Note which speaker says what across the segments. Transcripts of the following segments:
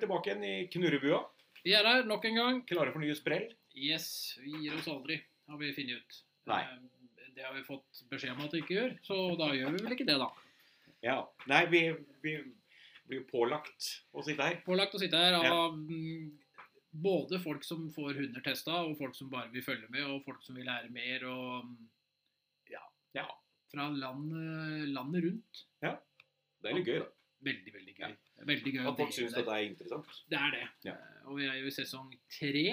Speaker 1: tilbake igjen i knurrebua.
Speaker 2: Vi er her nok en gang.
Speaker 1: Klare for nye sprell.
Speaker 2: Yes, vi gir oss aldri, har vi funnet ut.
Speaker 1: Nei.
Speaker 2: Eh, Det har vi fått beskjed om at vi ikke gjør, så da gjør vi vel ikke det, da.
Speaker 1: Ja. Nei, vi, vi blir jo pålagt å sitte her.
Speaker 2: Pålagt å sitte her av
Speaker 1: Ja.
Speaker 2: mm, både folk som får hunder testa, og folk som bare vil følge med, og folk som vil lære mer, og mm, ja.
Speaker 1: Ja.
Speaker 2: Fra landet, landet rundt.
Speaker 1: Det er litt gøy, da.
Speaker 2: Veldig, veldig gøy.
Speaker 1: Ja.
Speaker 2: Veldig gøy å
Speaker 1: At folk
Speaker 2: dele
Speaker 1: syns
Speaker 2: det.
Speaker 1: at det er interessant.
Speaker 2: Det er det.
Speaker 1: Ja.
Speaker 2: Eh, Og vi er jo i sesong tre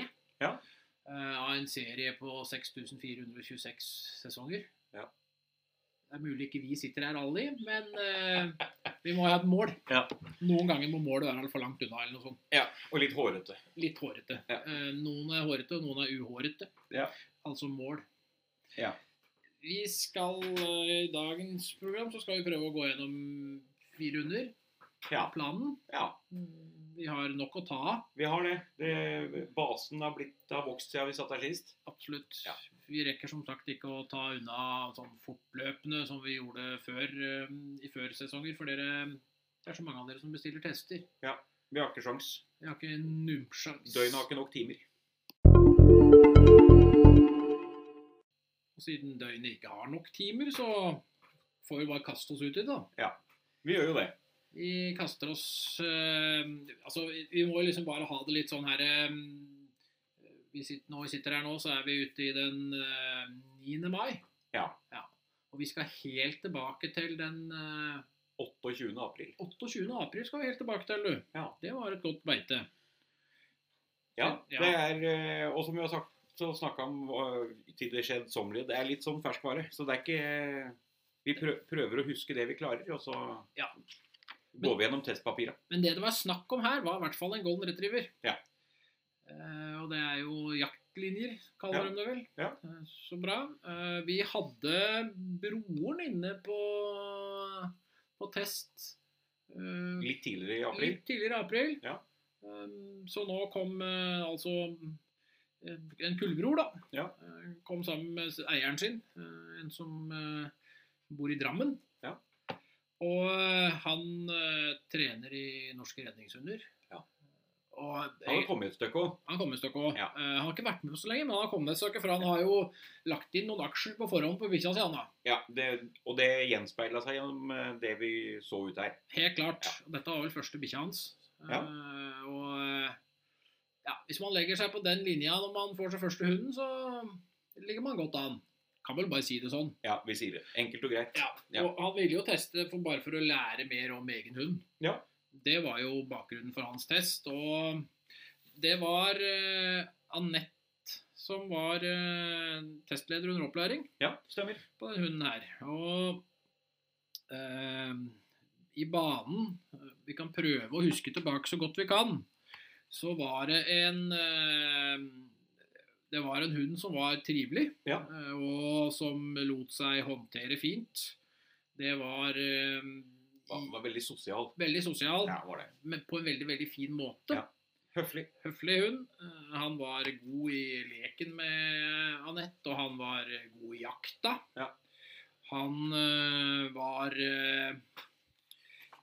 Speaker 1: Ja.
Speaker 2: eh, av en serie på 6426 sesonger.
Speaker 1: Ja.
Speaker 2: Det er mulig ikke vi sitter her alle i, men eh, vi må ha et mål.
Speaker 1: Ja.
Speaker 2: Noen ganger må målet være for langt unna eller noe sånt.
Speaker 1: Ja. Og litt hårete.
Speaker 2: Litt hårete.
Speaker 1: Ja.
Speaker 2: Eh, Noen er hårete, og noen er uhårete.
Speaker 1: Ja.
Speaker 2: Altså mål.
Speaker 1: Ja.
Speaker 2: Vi skal eh, i dagens program så skal vi prøve å gå gjennom fire runder.
Speaker 1: Ja.
Speaker 2: Planen.
Speaker 1: ja.
Speaker 2: Vi har nok å ta av.
Speaker 1: Vi har det. det basen har, blitt, har vokst siden vi satt her sist.
Speaker 2: Absolutt.
Speaker 1: Ja.
Speaker 2: Vi rekker som sagt ikke å ta unna sånn fortløpende som vi gjorde før, eh, i før sesonger, for dere, det er så mange av dere som bestiller tester.
Speaker 1: Vi har ikke sjans.
Speaker 2: Jeg har ikke nubbsjans.
Speaker 1: Døgnet har ikke nok timer.
Speaker 2: Og siden døgnet ikke har nok timer, så får vi bare kaste oss ut i det, da.
Speaker 1: Vi gjør jo det.
Speaker 2: Vi kaster oss eh, Altså, vi- vi må jo liksom bare ha det litt sånn her eh, vi sitter, Når vi sitter her nå, så er vi ute i den eh, 9. mai.
Speaker 1: Ja.
Speaker 2: Og vi skal helt tilbake til den eh,
Speaker 1: 28. april.
Speaker 2: 28. april skal vi helt tilbake til, du.
Speaker 1: Ja.
Speaker 2: Det var et godt beite.
Speaker 1: Ja,
Speaker 2: Ja.
Speaker 1: det er, eh, og som vi har sagt, så snakket om eh, til det skjedsommelige, det er litt som ferskvare. Så det er ikke eh, Vi prø- prøver å huske det vi klarer, og så
Speaker 2: Ja.
Speaker 1: går vi gjennom testpapirene.
Speaker 2: Men det det var snakk om her, var i hvert fall en golden retriever.
Speaker 1: Ja.
Speaker 2: Eh, og det er jo jaktlinjer, kaller
Speaker 1: Ja.
Speaker 2: de det vel.
Speaker 1: Ja.
Speaker 2: Eh, så bra. Eh, vi hadde broren inne på, på test eh,
Speaker 1: Litt tidligere i april.
Speaker 2: Litt tidligere i april.
Speaker 1: Ja.
Speaker 2: Um, så nå kom eh, altså eh, en kullbror, da.
Speaker 1: Ja.
Speaker 2: Eh, kom sammen med s- eieren sin, eh, en som eh, bor i Drammen.
Speaker 1: Ja.
Speaker 2: Og eh, han eh, trener i Norske Redningshunder.
Speaker 1: Ja.
Speaker 2: Og eh,
Speaker 1: Han har kommet et stykke òg.
Speaker 2: han kom et stykke òg.
Speaker 1: Ja.
Speaker 2: han har ikke vært med så lenge, men han har kommet et stykke, for han har jo lagt inn noen aksjer på forhånd på bikkja si. han da.
Speaker 1: Ja, det- og det gjenspeila seg gjennom eh, det vi så ut her.
Speaker 2: Helt klart. Dette var vel første bikkja hans.
Speaker 1: Ja.
Speaker 2: Eh, og eh, ja, hvis man legger seg på den linja når man får seg første hunden, så ligger man godt an. Kan vel bare si det sånn.
Speaker 1: Ja, vi sier det. Enkelt og greit.
Speaker 2: Ja.
Speaker 1: Ja.
Speaker 2: Og han ville jo teste for, bare for å lære mer om egen hund.
Speaker 1: Ja.
Speaker 2: Det var jo bakgrunnen for hans test. Og det var eh, Anette som var eh, testleder under opplæring
Speaker 1: Ja, stemmer.
Speaker 2: på den hunden her. Og eh, i banen eh, Vi kan prøve å huske tilbake så godt vi kan. Så var det en eh, Det var en hund som var trivelig,
Speaker 1: Ja.
Speaker 2: eh, og som lot seg håndtere fint. Det var eh,
Speaker 1: Han var veldig sosial.
Speaker 2: veldig sosial,
Speaker 1: Ja, var det.
Speaker 2: men på en veldig, veldig fin måte.
Speaker 1: Ja. Høflig.
Speaker 2: Høflig hund. Eh, Han var god i leken med Anette, og han var god i jakta.
Speaker 1: Ja.
Speaker 2: Han eh, var eh,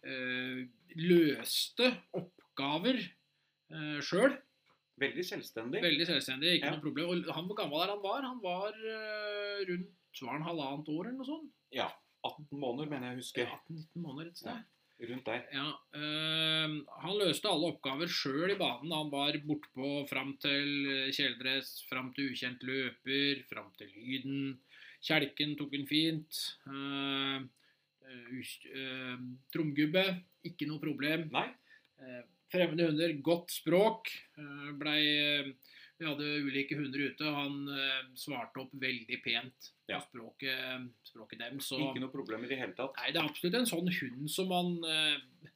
Speaker 2: eh, Løste oppgaver uh, sjøl.
Speaker 1: Veldig selvstendig.
Speaker 2: Veldig selvstendig, ikke
Speaker 1: Ja.
Speaker 2: noe problem. Og han, hvor gammel er han var? Han var eh, rundt var han halvannet år eller noe sånt?
Speaker 1: Ja. 18 måneder, mener jeg å huske.
Speaker 2: 18-19 måneder et sted.
Speaker 1: Ja. Rundt der.
Speaker 2: Ja, øhm, Han løste alle oppgaver sjøl i banen. Han var bortpå fram til øh, kjeledress, fram til ukjent løper, fram til lyden. Kjelken tok han fint. øh, øh, us- øh, Tromgubbe, ikke noe problem.
Speaker 1: Nei.
Speaker 2: Eh, Fremmede hunder, godt språk. eh, Blei eh, Vi hadde ulike hunder ute, og han eh, svarte opp veldig pent på
Speaker 1: Ja.
Speaker 2: språket, eh, språket dem. Så
Speaker 1: Ikke noe problem i det hele tatt.
Speaker 2: Nei, det er absolutt en sånn hund som man eh,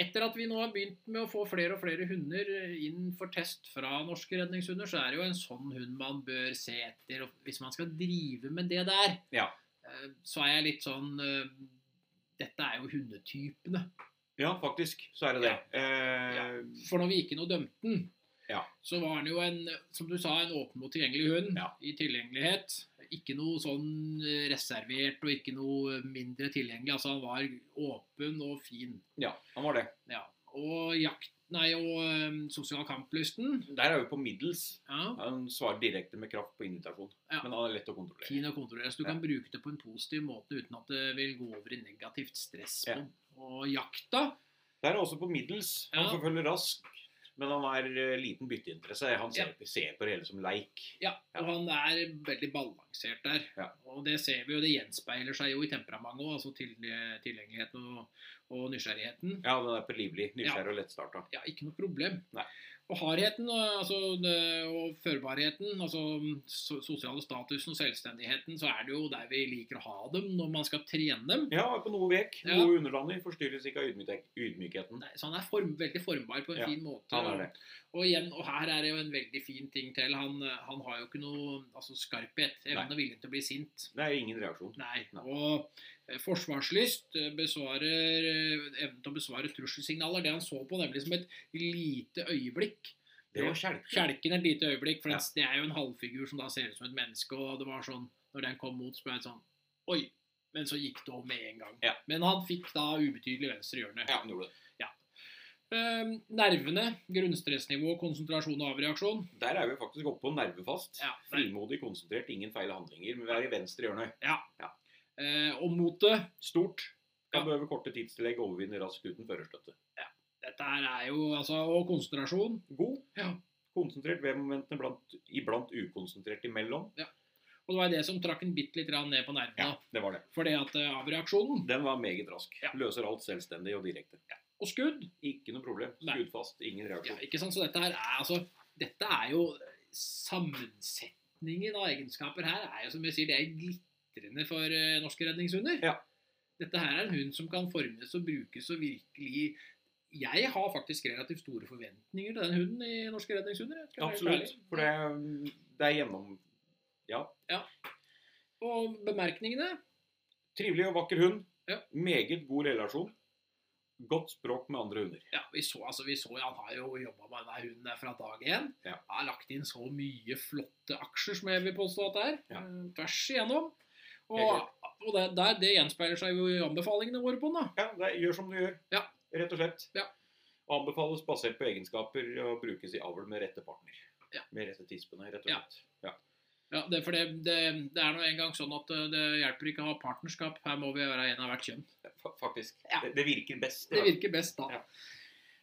Speaker 2: Etter at vi nå har begynt med å få flere og flere hunder eh, inn for test fra norske redningshunder, så er det jo en sånn hund man bør se etter. Og hvis man skal drive med det der,
Speaker 1: Ja.
Speaker 2: eh, så er jeg litt sånn eh, Dette er jo hundetypene.
Speaker 1: Ja, faktisk, så er det det. Eh,
Speaker 2: Ja. For når vi gikk inn og dømte den,
Speaker 1: Ja.
Speaker 2: så var den jo en, som du sa, en åpen og tilgjengelig hund
Speaker 1: Ja.
Speaker 2: i tilgjengelighet. Ikke noe sånn eh, reservert og ikke noe mindre tilgjengelig. Altså han var åpen og fin.
Speaker 1: ja, han var det.
Speaker 2: Ja, og jakten Nei, og eh, sosial kamplysten.
Speaker 1: Der er vi på middels.
Speaker 2: Ja.
Speaker 1: Han svarer direkte med kraft på invitasjon.
Speaker 2: Ja.
Speaker 1: Men han er lett å kontrollere.
Speaker 2: Fin å kontrollere. Så du
Speaker 1: Ja.
Speaker 2: kan bruke det på en positiv måte uten at det vil gå over i negativt stress. på
Speaker 1: Ja.
Speaker 2: den. Og jakta
Speaker 1: Der er også på middels. Han
Speaker 2: Ja.
Speaker 1: forfølger rask, men han har eh, liten bytteinteresse. Han ser, ser på det hele som leik.
Speaker 2: Ja, og han er veldig balansert der.
Speaker 1: Ja.
Speaker 2: Og det ser vi jo, det gjenspeiler seg jo i temperamentet òg, altså til, tilgjengeligheten og, og nysgjerrigheten.
Speaker 1: Ja, den er på livlig, nysgjerrig og lettstarta.
Speaker 2: Ja, ikke noe problem.
Speaker 1: Nei.
Speaker 2: Og hardheten og- altså, det- og førbarheten, altså so- sosiale statusen og selvstendigheten, så er det jo der vi liker å ha dem når man skal trene dem.
Speaker 1: Ja, er på noe vek.
Speaker 2: Ja.
Speaker 1: Noe underdanig. Forstyrres ikke av ydmykhet- ydmykheten.
Speaker 2: Nei, Så han er form, veldig formbar på en
Speaker 1: Ja,
Speaker 2: fin måte.
Speaker 1: Han er det.
Speaker 2: Og igjen, og her er det jo en veldig fin ting til. Han, han har jo ikke noe altså, skarphet, evne
Speaker 1: Nei.
Speaker 2: og vilje til å bli sint.
Speaker 1: Det er ingen reaksjon.
Speaker 2: Nei.
Speaker 1: Nei.
Speaker 2: Og eh, forsvarslyst eh, besvarer eh, evnen til å besvare trusselsignaler. Det han så på nemlig som et lite øyeblikk.
Speaker 1: Det var kjelke.
Speaker 2: Kjelken er et lite øyeblikk, for
Speaker 1: Ja.
Speaker 2: det er jo en halvfigur som da ser ut som et menneske. Og det var sånn, når den kom mot, så ble det sånn Oi! Men så gikk det over med en gang.
Speaker 1: Ja.
Speaker 2: Men han fikk da ubetydelig venstre hjørne.
Speaker 1: Ja, han gjorde det.
Speaker 2: Eh, nervene, grunnstressnivå, konsentrasjon og avreaksjon.
Speaker 1: Der er vi faktisk oppe på nervefast.
Speaker 2: Ja, nei.
Speaker 1: Frimodig, konsentrert, ingen feil handlinger. Men vi er i venstre hjørne.
Speaker 2: Eh, og motet
Speaker 1: Stort. Kan
Speaker 2: Ja.
Speaker 1: behøve korte tidstillegg, overvinne raskt uten førerstøtte.
Speaker 2: Dette her er jo altså Og konsentrasjon.
Speaker 1: God.
Speaker 2: Ja.
Speaker 1: Konsentrert ved momentene, blant, iblant ukonsentrert imellom.
Speaker 2: Og det var det som trakk en bitte litt grann ned på nervene.
Speaker 1: Ja, det var det.
Speaker 2: For det at eh, avreaksjonen
Speaker 1: Den var meget rask.
Speaker 2: Ja.
Speaker 1: Løser alt selvstendig og direkte.
Speaker 2: og skudd
Speaker 1: Ikke noe problem.
Speaker 2: Nei.
Speaker 1: Skudd fast, ingen
Speaker 2: ja,
Speaker 1: reaksjon.
Speaker 2: ikke sant? Så dette her er altså Dette er jo Sammensetningen av egenskaper her er jo som jeg sier, det er glitrende for eh, norske redningshunder.
Speaker 1: Ja.
Speaker 2: Dette her er en hund som kan formes og brukes og virkelig Jeg har faktisk relativt store forventninger til den hunden i norske redningshunder. jeg skal være helt
Speaker 1: Absolutt.
Speaker 2: ærlig.
Speaker 1: For det, mm, det er gjennom... Ja.
Speaker 2: Og bemerkningene
Speaker 1: Trivelig og vakker hund.
Speaker 2: Ja.
Speaker 1: Meget god relasjon. Godt språk med andre hunder.
Speaker 2: Ja, vi så, altså, vi så Han har jo jobba med denne hunden der fra dag én.
Speaker 1: Ja.
Speaker 2: Han Har lagt inn så mye flotte aksjer, som jeg vil påstå at det er.
Speaker 1: Ja.
Speaker 2: eh, Tvers igjennom.
Speaker 1: Helt
Speaker 2: Og, og det, der, det gjenspeiler seg jo i anbefalingene våre på den. da.
Speaker 1: Ja, det er, gjør som du gjør.
Speaker 2: Ja.
Speaker 1: Rett og slett.
Speaker 2: Ja.
Speaker 1: Anbefales basert på egenskaper og brukes i avl med rette partner.
Speaker 2: Ja.
Speaker 1: Med rette tispene, rett og
Speaker 2: Ja.
Speaker 1: slett. Ja.
Speaker 2: Ja, det, for det, det, det er nå engang sånn at eh, det hjelper ikke å ha partnerskap. Her må vi være en av hvert kjønn.
Speaker 1: Fa- Faktisk.
Speaker 2: Ja.
Speaker 1: Det, det virker best. i hvert
Speaker 2: Det
Speaker 1: fall.
Speaker 2: virker best da.
Speaker 1: Ja.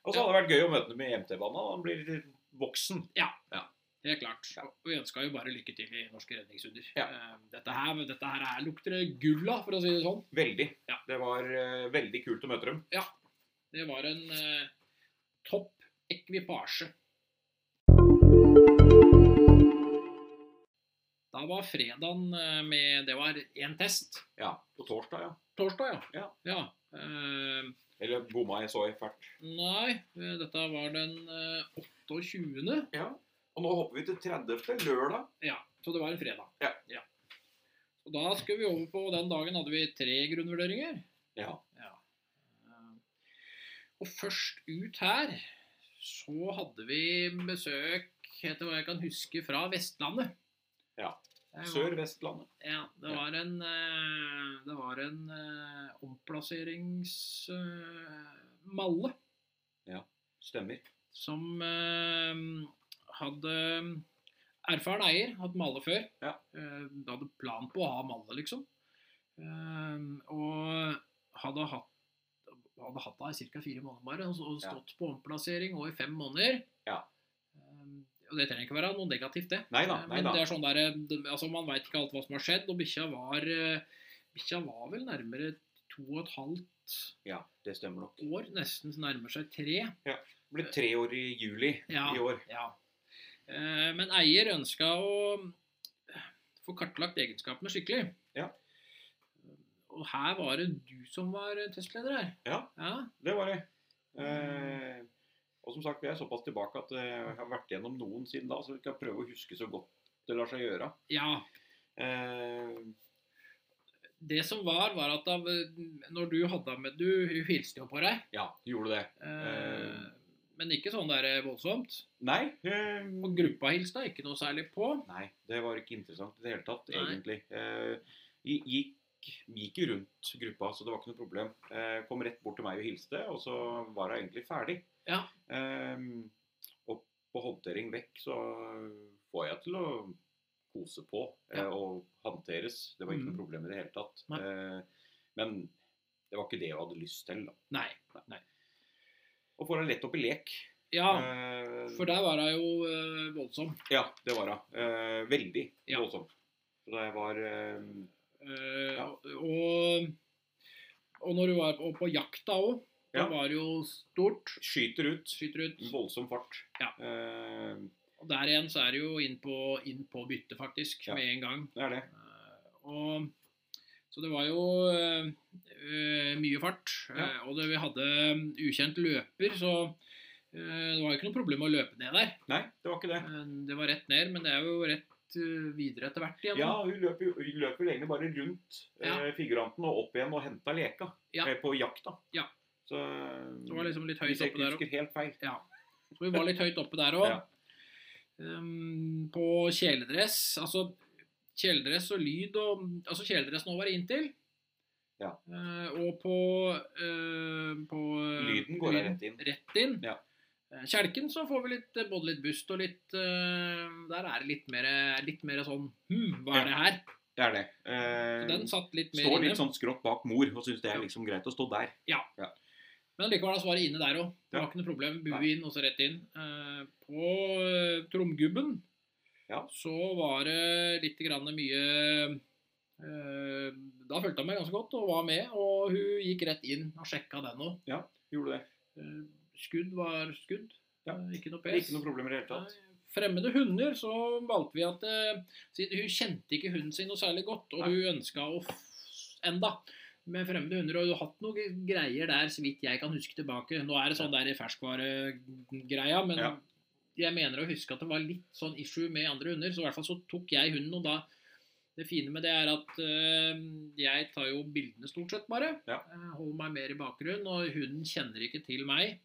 Speaker 1: Og så hadde det vært gøy å møte ham i MT-banen. Han blir voksen.
Speaker 2: Helt klart.
Speaker 1: Ja.
Speaker 2: Og vi ønsker jo bare lykke til i Norske redningshunder.
Speaker 1: Ja.
Speaker 2: Eh, Dette her, dette her er, lukter det gull av, for å si det sånn.
Speaker 1: Veldig.
Speaker 2: Ja.
Speaker 1: Det var eh, veldig kult å møte dem.
Speaker 2: Det var en eh, topp ekvipasje. Da var fredagen eh, med Det var én test.
Speaker 1: Ja, På torsdag, ja.
Speaker 2: Torsdag, ja.
Speaker 1: Ja.
Speaker 2: eh,
Speaker 1: Eller bomma jeg så i fælt.
Speaker 2: nei, eh, dette var den eh, 28.
Speaker 1: Ja. Og nå hopper vi til 30. lørdag.
Speaker 2: Ja, så det var en fredag.
Speaker 1: Ja.
Speaker 2: Og da skulle vi over på Den dagen hadde vi tre grunnvurderinger.
Speaker 1: Ja.
Speaker 2: Eh, Og først ut her så hadde vi besøk, etter hva jeg kan huske, fra Vestlandet.
Speaker 1: Ja.
Speaker 2: Det var-
Speaker 1: Sør-Vestlandet.
Speaker 2: Ja. Det
Speaker 1: Ja.
Speaker 2: var en, eh, det var en eh, omplasseringsmalle
Speaker 1: Stemmer.
Speaker 2: som eh, hadde erfaren eier, hatt malle før.
Speaker 1: Ja.
Speaker 2: Eh, hadde plan på å ha malle, liksom. Eh, og hadde hatt hadde hatt det i ca. fire måneder bare, og så- og
Speaker 1: Ja.
Speaker 2: stått på omplassering og i fem måneder.
Speaker 1: Ja.
Speaker 2: Eh, og Det trenger ikke være noe negativt, det.
Speaker 1: Nei da.
Speaker 2: Eh,
Speaker 1: Nei
Speaker 2: Men
Speaker 1: da.
Speaker 2: det er sånn der, eh, det- altså man veit ikke alt hva som har skjedd, og bikkja var, eh, bikkja var vel nærmere to og et halvt
Speaker 1: Ja, det stemmer nok.
Speaker 2: år, nesten nærmer seg tre.
Speaker 1: Det blir tre år i juli
Speaker 2: Ja.
Speaker 1: i år.
Speaker 2: Ja. Eh, Men eier ønska å eh, få kartlagt egenskapene skikkelig.
Speaker 1: Ja.
Speaker 2: Og her var det du som var testleder her.
Speaker 1: Ja.
Speaker 2: Ja,
Speaker 1: Det var det. Eh, og som sagt, vi er såpass tilbake at eh, jeg har vært gjennom noen siden da, så vi skal prøve å huske så godt det lar seg gjøre.
Speaker 2: ja.
Speaker 1: Eh,
Speaker 2: Det som var, var at da, eh, når du hadde med Du hun hilste jo på deg.
Speaker 1: ja, gjorde det.
Speaker 2: Eh,
Speaker 1: Eh.
Speaker 2: men ikke sånn der voldsomt.
Speaker 1: Nei. Eh,
Speaker 2: Og gruppa hilste ikke noe særlig på.
Speaker 1: nei, det var ikke interessant i det hele tatt,
Speaker 2: Nei.
Speaker 1: egentlig. Eh, gi- gikk gikk, vi gikk jo rundt gruppa, så det var ikke noe problem. Eh, kom rett bort til meg og hilste, og så var hun egentlig ferdig.
Speaker 2: Ja.
Speaker 1: Eh, og på håndtering vekk så får jeg til å kose på eh,
Speaker 2: Ja.
Speaker 1: og håndteres. Det var ikke
Speaker 2: Mhm.
Speaker 1: noe problem i det hele tatt.
Speaker 2: Nei.
Speaker 1: Eh, men det var ikke det hun hadde lyst til. da.
Speaker 2: Nei.
Speaker 1: Og får henne lett opp i lek.
Speaker 2: Ja,
Speaker 1: Eh,
Speaker 2: for der var hun jo eh, voldsom.
Speaker 1: Ja, det var hun. Eh, veldig
Speaker 2: Ja.
Speaker 1: voldsom. Så det var eh,
Speaker 2: Eh,
Speaker 1: Ja.
Speaker 2: og, og når hun var på, på jakta òg, da
Speaker 1: Ja.
Speaker 2: var det jo stort.
Speaker 1: Skyter ut.
Speaker 2: Skyter ut.
Speaker 1: Voldsom fart.
Speaker 2: Ja.
Speaker 1: Eh,
Speaker 2: Og der igjen så er det jo inn på, inn på byttet, faktisk,
Speaker 1: Ja.
Speaker 2: med en gang.
Speaker 1: det er det.
Speaker 2: Eh, og, så det var jo eh, eh, mye fart.
Speaker 1: Ja.
Speaker 2: Eh, og det, vi hadde um, ukjent løper, så eh, det var jo ikke noe problem å løpe ned der.
Speaker 1: Nei, det var ikke det.
Speaker 2: Eh, det var rett ned, men det er jo rett eh, videre etter hvert igjen.
Speaker 1: Ja,
Speaker 2: da.
Speaker 1: hun løper, jo- hun løper vel egentlig bare rundt
Speaker 2: Ja.
Speaker 1: eh, figuranten og opp igjen og henta leka
Speaker 2: Ja.
Speaker 1: eh, på jakta.
Speaker 2: Ja.
Speaker 1: Så eh,
Speaker 2: Det var liksom litt høyt
Speaker 1: Hvis jeg
Speaker 2: oppe
Speaker 1: ikke
Speaker 2: der òg.
Speaker 1: husker helt feil.
Speaker 2: Ja. Så vi var litt høyt oppe der òg.
Speaker 1: Ja.
Speaker 2: Um, på kjeledress Altså kjeledress og lyd og Altså kjeledress nå var det inntil.
Speaker 1: Ja.
Speaker 2: Eh, og på, eh, på
Speaker 1: Lyden går jeg rett inn.
Speaker 2: Rett inn.
Speaker 1: Ja.
Speaker 2: Eh, Kjelken så får vi litt, eh, både litt bust og litt eh, Der er det litt mer, litt mer sånn Hm, hva
Speaker 1: Ja.
Speaker 2: er det her?
Speaker 1: Det er det.
Speaker 2: Så
Speaker 1: Eh,
Speaker 2: Den satt litt mer
Speaker 1: står
Speaker 2: inne.
Speaker 1: litt sånn skrått bak mor og syns det
Speaker 2: Ja.
Speaker 1: er liksom greit å stå der.
Speaker 2: Men likevel er svaret inne der òg. Det
Speaker 1: Ja.
Speaker 2: var ikke noe problem. Bue
Speaker 1: Nei.
Speaker 2: inn, og så rett inn. Eh, På eh, tromgubben
Speaker 1: Ja.
Speaker 2: så var det litt grann mye eh, Da fulgte han med ganske godt og var med, og hun gikk rett inn og sjekka den òg.
Speaker 1: Gjorde det.
Speaker 2: Skudd var skudd.
Speaker 1: Ja.
Speaker 2: Eh, Ikke noe pes.
Speaker 1: Ikke noe problem i det hele tatt.
Speaker 2: Nei, Fremmede hunder, så valgte vi at eh, siden Hun kjente ikke hunden sin noe særlig godt, og
Speaker 1: Nei.
Speaker 2: hun ønska å f- enda med fremmede hunder. Og du har hatt noen greier der, så vidt jeg kan huske tilbake. Nå er det sånn der i ferskvaregreia, men
Speaker 1: Ja.
Speaker 2: jeg mener å huske at det var litt sånn issue med andre hunder. Så i hvert fall så tok jeg hunden, og da Det fine med det er at eh, jeg tar jo bildene stort sett, bare.
Speaker 1: Ja.
Speaker 2: Eh, holder meg mer i bakgrunnen, og hunden kjenner ikke til meg.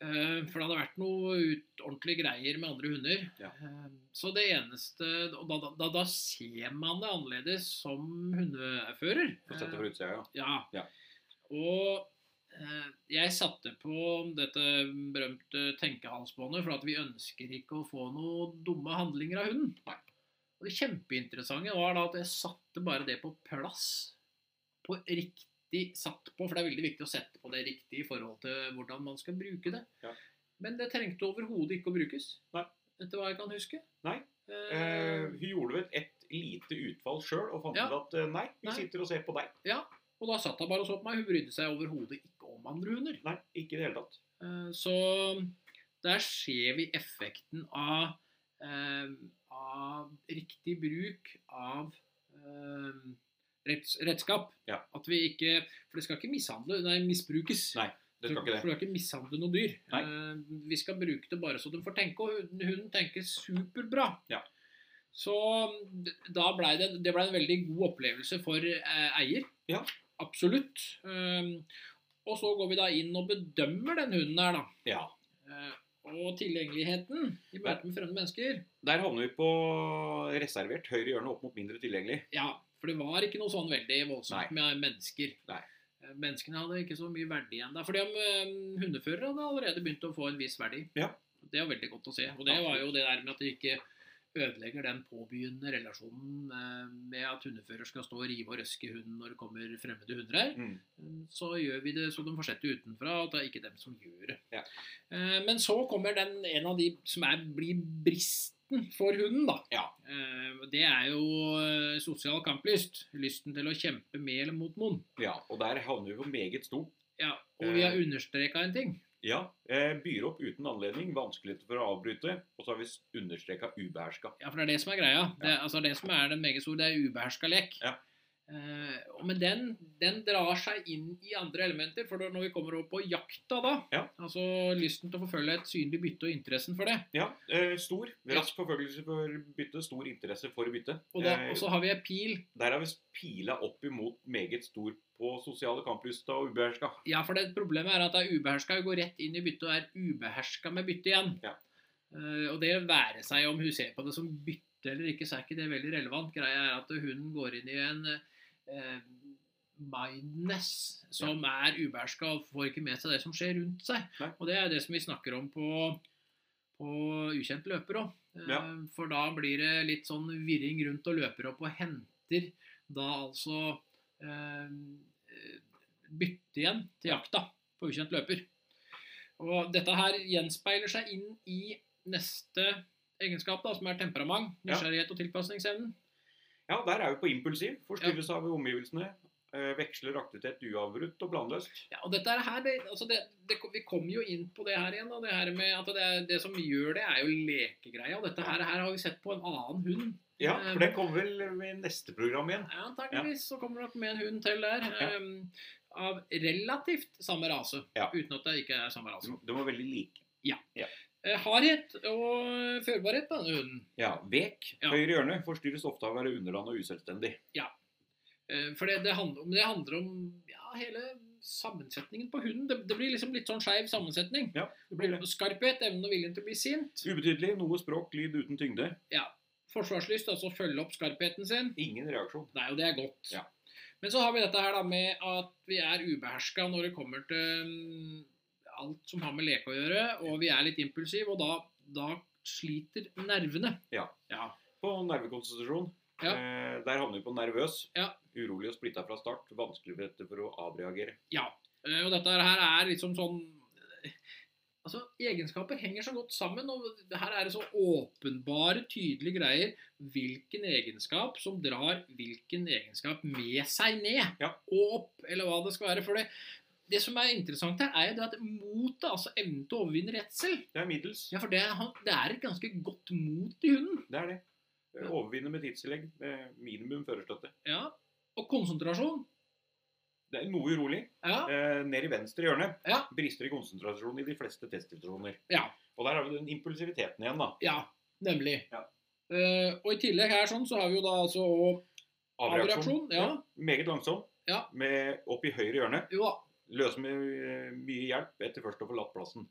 Speaker 2: Eh, For det hadde vært noe ut, ordentlige greier med andre hunder.
Speaker 1: Ja.
Speaker 2: Eh, Så det eneste Og da, da, da, da ser man det annerledes som hundefører.
Speaker 1: Få sett det
Speaker 2: Eh,
Speaker 1: fra utsida, ja.
Speaker 2: Ja.
Speaker 1: Ja.
Speaker 2: Og eh, jeg satte på dette berømte tenkehalsbåndet, for at vi ønsker ikke å få noen dumme handlinger av hunden. Og det kjempeinteressante var da at jeg satte bare det på plass. På riktig satt på, for det er veldig viktig å sette på det riktig i forhold til hvordan man skal bruke det.
Speaker 1: Ja.
Speaker 2: Men det trengte overhodet ikke å brukes.
Speaker 1: Nei.
Speaker 2: Etter hva jeg kan huske.
Speaker 1: Nei. Eh,
Speaker 2: Eh,
Speaker 1: hun gjorde vel et lite utfall sjøl og fant
Speaker 2: Ja.
Speaker 1: ut at eh, nei, vi
Speaker 2: Nei.
Speaker 1: sitter og ser på deg.
Speaker 2: og da satt hun bare og så på meg. Hun brydde seg overhodet ikke om andre hunder.
Speaker 1: Nei, ikke i det hele tatt.
Speaker 2: Eh, Så der ser vi effekten av, eh, av riktig bruk av eh, retts, redskap.
Speaker 1: Ja.
Speaker 2: At vi ikke For det skal ikke mishandle, nei, misbrukes.
Speaker 1: Nei, Det skal ikke det.
Speaker 2: For du skal ikke mishandle noe dyr.
Speaker 1: Nei.
Speaker 2: Eh, vi skal bruke det bare så de får tenke, og hunden, hunden tenker superbra.
Speaker 1: Ja.
Speaker 2: Så d- da ble det, det ble en veldig god opplevelse for eh, eier.
Speaker 1: Ja.
Speaker 2: Absolutt. Eh, og så går vi da inn og bedømmer den hunden her, da.
Speaker 1: Ja.
Speaker 2: Eh, og tilgjengeligheten i møte med fremmede mennesker.
Speaker 1: Der havner vi på reservert høyre hjørne opp mot mindre tilgjengelig.
Speaker 2: Ja, for det var ikke noe sånn veldig voldsomt med mennesker.
Speaker 1: Nei.
Speaker 2: Eh, Menneskene hadde ikke så mye verdi igjen der. Fordi om eh, hundeførere hadde allerede begynt å få en viss verdi.
Speaker 1: Ja.
Speaker 2: Det var veldig godt å se. Og det var jo det der med at de ikke ødelegger den påbegynnende relasjonen eh, med at hundefører skal stå og rive og røske hunden når det kommer fremmede hunder her.
Speaker 1: Mm.
Speaker 2: Så gjør vi det så de får sett det utenfra, at det er ikke dem som gjør det.
Speaker 1: Ja.
Speaker 2: Eh, Men så kommer den, en av de som er, blir bristen for hunden, da.
Speaker 1: Ja.
Speaker 2: Eh, Det er jo eh, sosial kamplyst. Lysten til å kjempe med eller mot noen.
Speaker 1: Ja, og der havner vi på meget stort.
Speaker 2: Ja, og vi har
Speaker 1: Eh.
Speaker 2: understreka en ting.
Speaker 1: Ja. Eh, byr opp uten anledning, vanskeligheter for å avbryte, og så har vi understreka ubeherska.
Speaker 2: Ja, for det er det som er greia. Det, altså det som er den meget store, det er ubeherska lek.
Speaker 1: Ja.
Speaker 2: Eh, og- Men den, den drar seg inn i andre elementer. For når vi kommer over på jakta, da,
Speaker 1: Ja.
Speaker 2: altså lysten til å forfølge et synlig bytte og interessen for det,
Speaker 1: Ja, eh, stor. Rask forfølgelse for bytte, stor interesse for bytte.
Speaker 2: Og, da,
Speaker 1: Eh,
Speaker 2: og så har vi ei pil.
Speaker 1: der har vi pila opp imot meget stor på sosiale kamplysta og ubeherska.
Speaker 2: Ja, for det problemet er at det er ubeherska. Hun går rett inn i byttet og er ubeherska med byttet igjen.
Speaker 1: Ja.
Speaker 2: Eh, og det være seg om hun ser på det som bytte eller ikke, så er ikke det veldig relevant. Greia er at hun går inn i en, eh, mindness som er ubeherska og får ikke med seg det som skjer rundt seg.
Speaker 1: Nei.
Speaker 2: Og det er det som vi snakker om på, på ukjent løper òg.
Speaker 1: Ja.
Speaker 2: For da blir det litt sånn virring rundt og løper opp og henter da altså eh, bytte igjen til jakta på ukjent løper. Og dette her gjenspeiler seg inn i neste egenskap, da, som er temperament,
Speaker 1: Ja.
Speaker 2: nysgjerrighet og tilpasningsevnen.
Speaker 1: Ja, der er vi på impulsiv. Forstyrres av omgivelsene. eh, Veksler aktivitet uavbrutt og planløst.
Speaker 2: Ja, og dette her, det, altså det, det, Vi kommer jo inn på det her igjen. Da, det her med at det, er- det som gjør det, er jo lekegreia. Og dette her, her har vi sett på en annen hund.
Speaker 1: Ja,
Speaker 2: Eh,
Speaker 1: for den kommer vel i neste program igjen.
Speaker 2: Ja, antakeligvis så kommer det nok med en hund til der.
Speaker 1: Ja.
Speaker 2: ehm, av relativt samme rase.
Speaker 1: Ja.
Speaker 2: Uten at det ikke er samme rase.
Speaker 1: De var veldig like.
Speaker 2: Eh, hardhet og førbarhet på denne hunden.
Speaker 1: Ja, Vek.
Speaker 2: Ja.
Speaker 1: Høyre hjørne forstyrres ofte av å være underland og uselvstendig.
Speaker 2: Eh, For det, det, handler, om, det handler om ja, hele sammensetningen på hunden. Det, det blir liksom litt sånn skeiv sammensetning.
Speaker 1: Ja, det blir det.
Speaker 2: Skarphet, evnen og viljen til å bli sint.
Speaker 1: Ubetydelig. Noe språk, lyd uten tyngde.
Speaker 2: Forsvarslyst, altså følge opp skarpheten sin.
Speaker 1: Ingen reaksjon.
Speaker 2: Nei, og det er godt.
Speaker 1: Ja.
Speaker 2: Men så har vi dette her da med at vi er ubeherska når det kommer til mm, alt som har med leke å gjøre, og vi er litt impulsive, og da, da sliter nervene.
Speaker 1: Ja.
Speaker 2: ja.
Speaker 1: På nervekonstitusjon.
Speaker 2: Ja.
Speaker 1: eh, Der havner vi på nervøs.
Speaker 2: Ja.
Speaker 1: Urolig og splitta fra start. Vanskeligheter for å avreagere.
Speaker 2: Eh, Og dette her er liksom sånn eh, Altså, Egenskaper henger så godt sammen, og det her er det så åpenbare, tydelige greier hvilken egenskap som drar hvilken egenskap med seg ned
Speaker 1: Ja.
Speaker 2: og opp, eller hva det skal være. For det, det som er interessant her, er jo det at motet, altså evnen til å overvinne redsel
Speaker 1: Det er middels.
Speaker 2: Ja, for det, er- han- det er et ganske godt mot i hunden.
Speaker 1: Det er det. Eh,
Speaker 2: Ja.
Speaker 1: Overvinne med tidstillegg. eh, Minimum førerstøtte.
Speaker 2: Ja. Og konsentrasjon.
Speaker 1: Det er noe urolig.
Speaker 2: Ja.
Speaker 1: Eh, ned i venstre hjørne
Speaker 2: Ja.
Speaker 1: brister i konsentrasjon i de fleste testsituasjoner.
Speaker 2: Ja.
Speaker 1: Og der har vi den impulsiviteten igjen, da.
Speaker 2: ja nemlig.
Speaker 1: Ja.
Speaker 2: Eh, og i tillegg her sånn, så har vi jo da altså og avreaksjon. ja.
Speaker 1: Meget langsom.
Speaker 2: Ja.
Speaker 1: Med opp i høyre hjørne.
Speaker 2: Jo da.
Speaker 1: Løser med eh, mye hjelp etter først å ha forlatt plassen.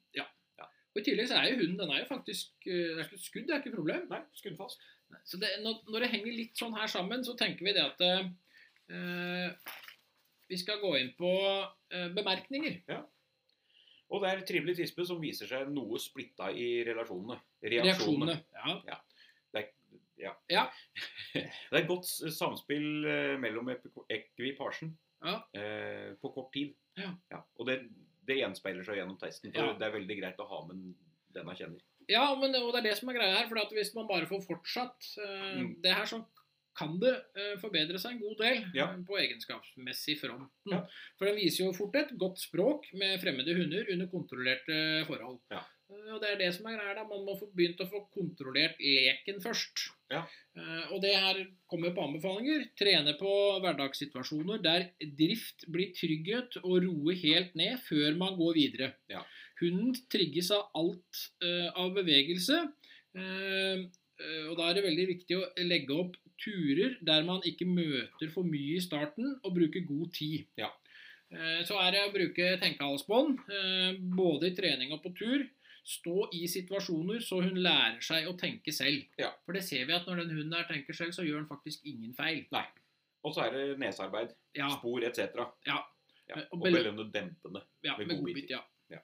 Speaker 2: Og I tillegg så er jo hunden den er jo faktisk eh, det er ikke et skudd, det er ikke et problem.
Speaker 1: Nei, skuddfast.
Speaker 2: Så det, når, når det henger litt sånn her sammen, så tenker vi det at eh, vi skal gå inn på eh, bemerkninger.
Speaker 1: Og det er trivelig tispe som viser seg noe splitta i relasjonene. Reaksjonene.
Speaker 2: Reaksjonene. Ja.
Speaker 1: Ja.
Speaker 2: Ja.
Speaker 1: det er godt s- samspill eh, mellom epi- ekvipasjen
Speaker 2: Ja.
Speaker 1: eh, på kort tid.
Speaker 2: Ja.
Speaker 1: Og det, det gjenspeiler seg gjennom testen. For
Speaker 2: Ja.
Speaker 1: Det er veldig greit å ha med den jeg kjenner.
Speaker 2: ja, men og det er det som er greia her. For at hvis man bare får fortsatt eh,
Speaker 1: Mm.
Speaker 2: det her, så kan det eh, forbedre seg en god del
Speaker 1: Ja.
Speaker 2: eh, på egenskapsmessig fronten.
Speaker 1: Ja.
Speaker 2: For den viser jo fort et godt språk med fremmede hunder under kontrollerte forhold.
Speaker 1: Ja.
Speaker 2: Eh, Og det er det som er greia da. Man må få begynt å få kontrollert leken først.
Speaker 1: Ja.
Speaker 2: Eh, Og det her kommer på anbefalinger. Trene på hverdagssituasjoner der drift blir trygghet og roe helt ned før man går videre.
Speaker 1: Ja.
Speaker 2: Hunden trigges av alt eh, av bevegelse. eh, eh, Og da er det veldig viktig å legge opp turer der man ikke møter for mye i starten, og bruke god tid.
Speaker 1: Ja.
Speaker 2: Eh, Så er det å bruke tenkehalsbånd, eh, både i trening og på tur. Stå i situasjoner så hun lærer seg å tenke selv.
Speaker 1: Ja.
Speaker 2: For det ser vi at når den hunden her tenker selv, så gjør den faktisk ingen feil.
Speaker 1: Og så er det nesearbeid,
Speaker 2: Ja,
Speaker 1: spor etc.
Speaker 2: Ja. Eh,
Speaker 1: Ja,
Speaker 2: Og
Speaker 1: Og
Speaker 2: bel-
Speaker 1: belønne dempende.
Speaker 2: ja
Speaker 1: Med
Speaker 2: med
Speaker 1: godbit.
Speaker 2: godbit, ja.
Speaker 1: Ja.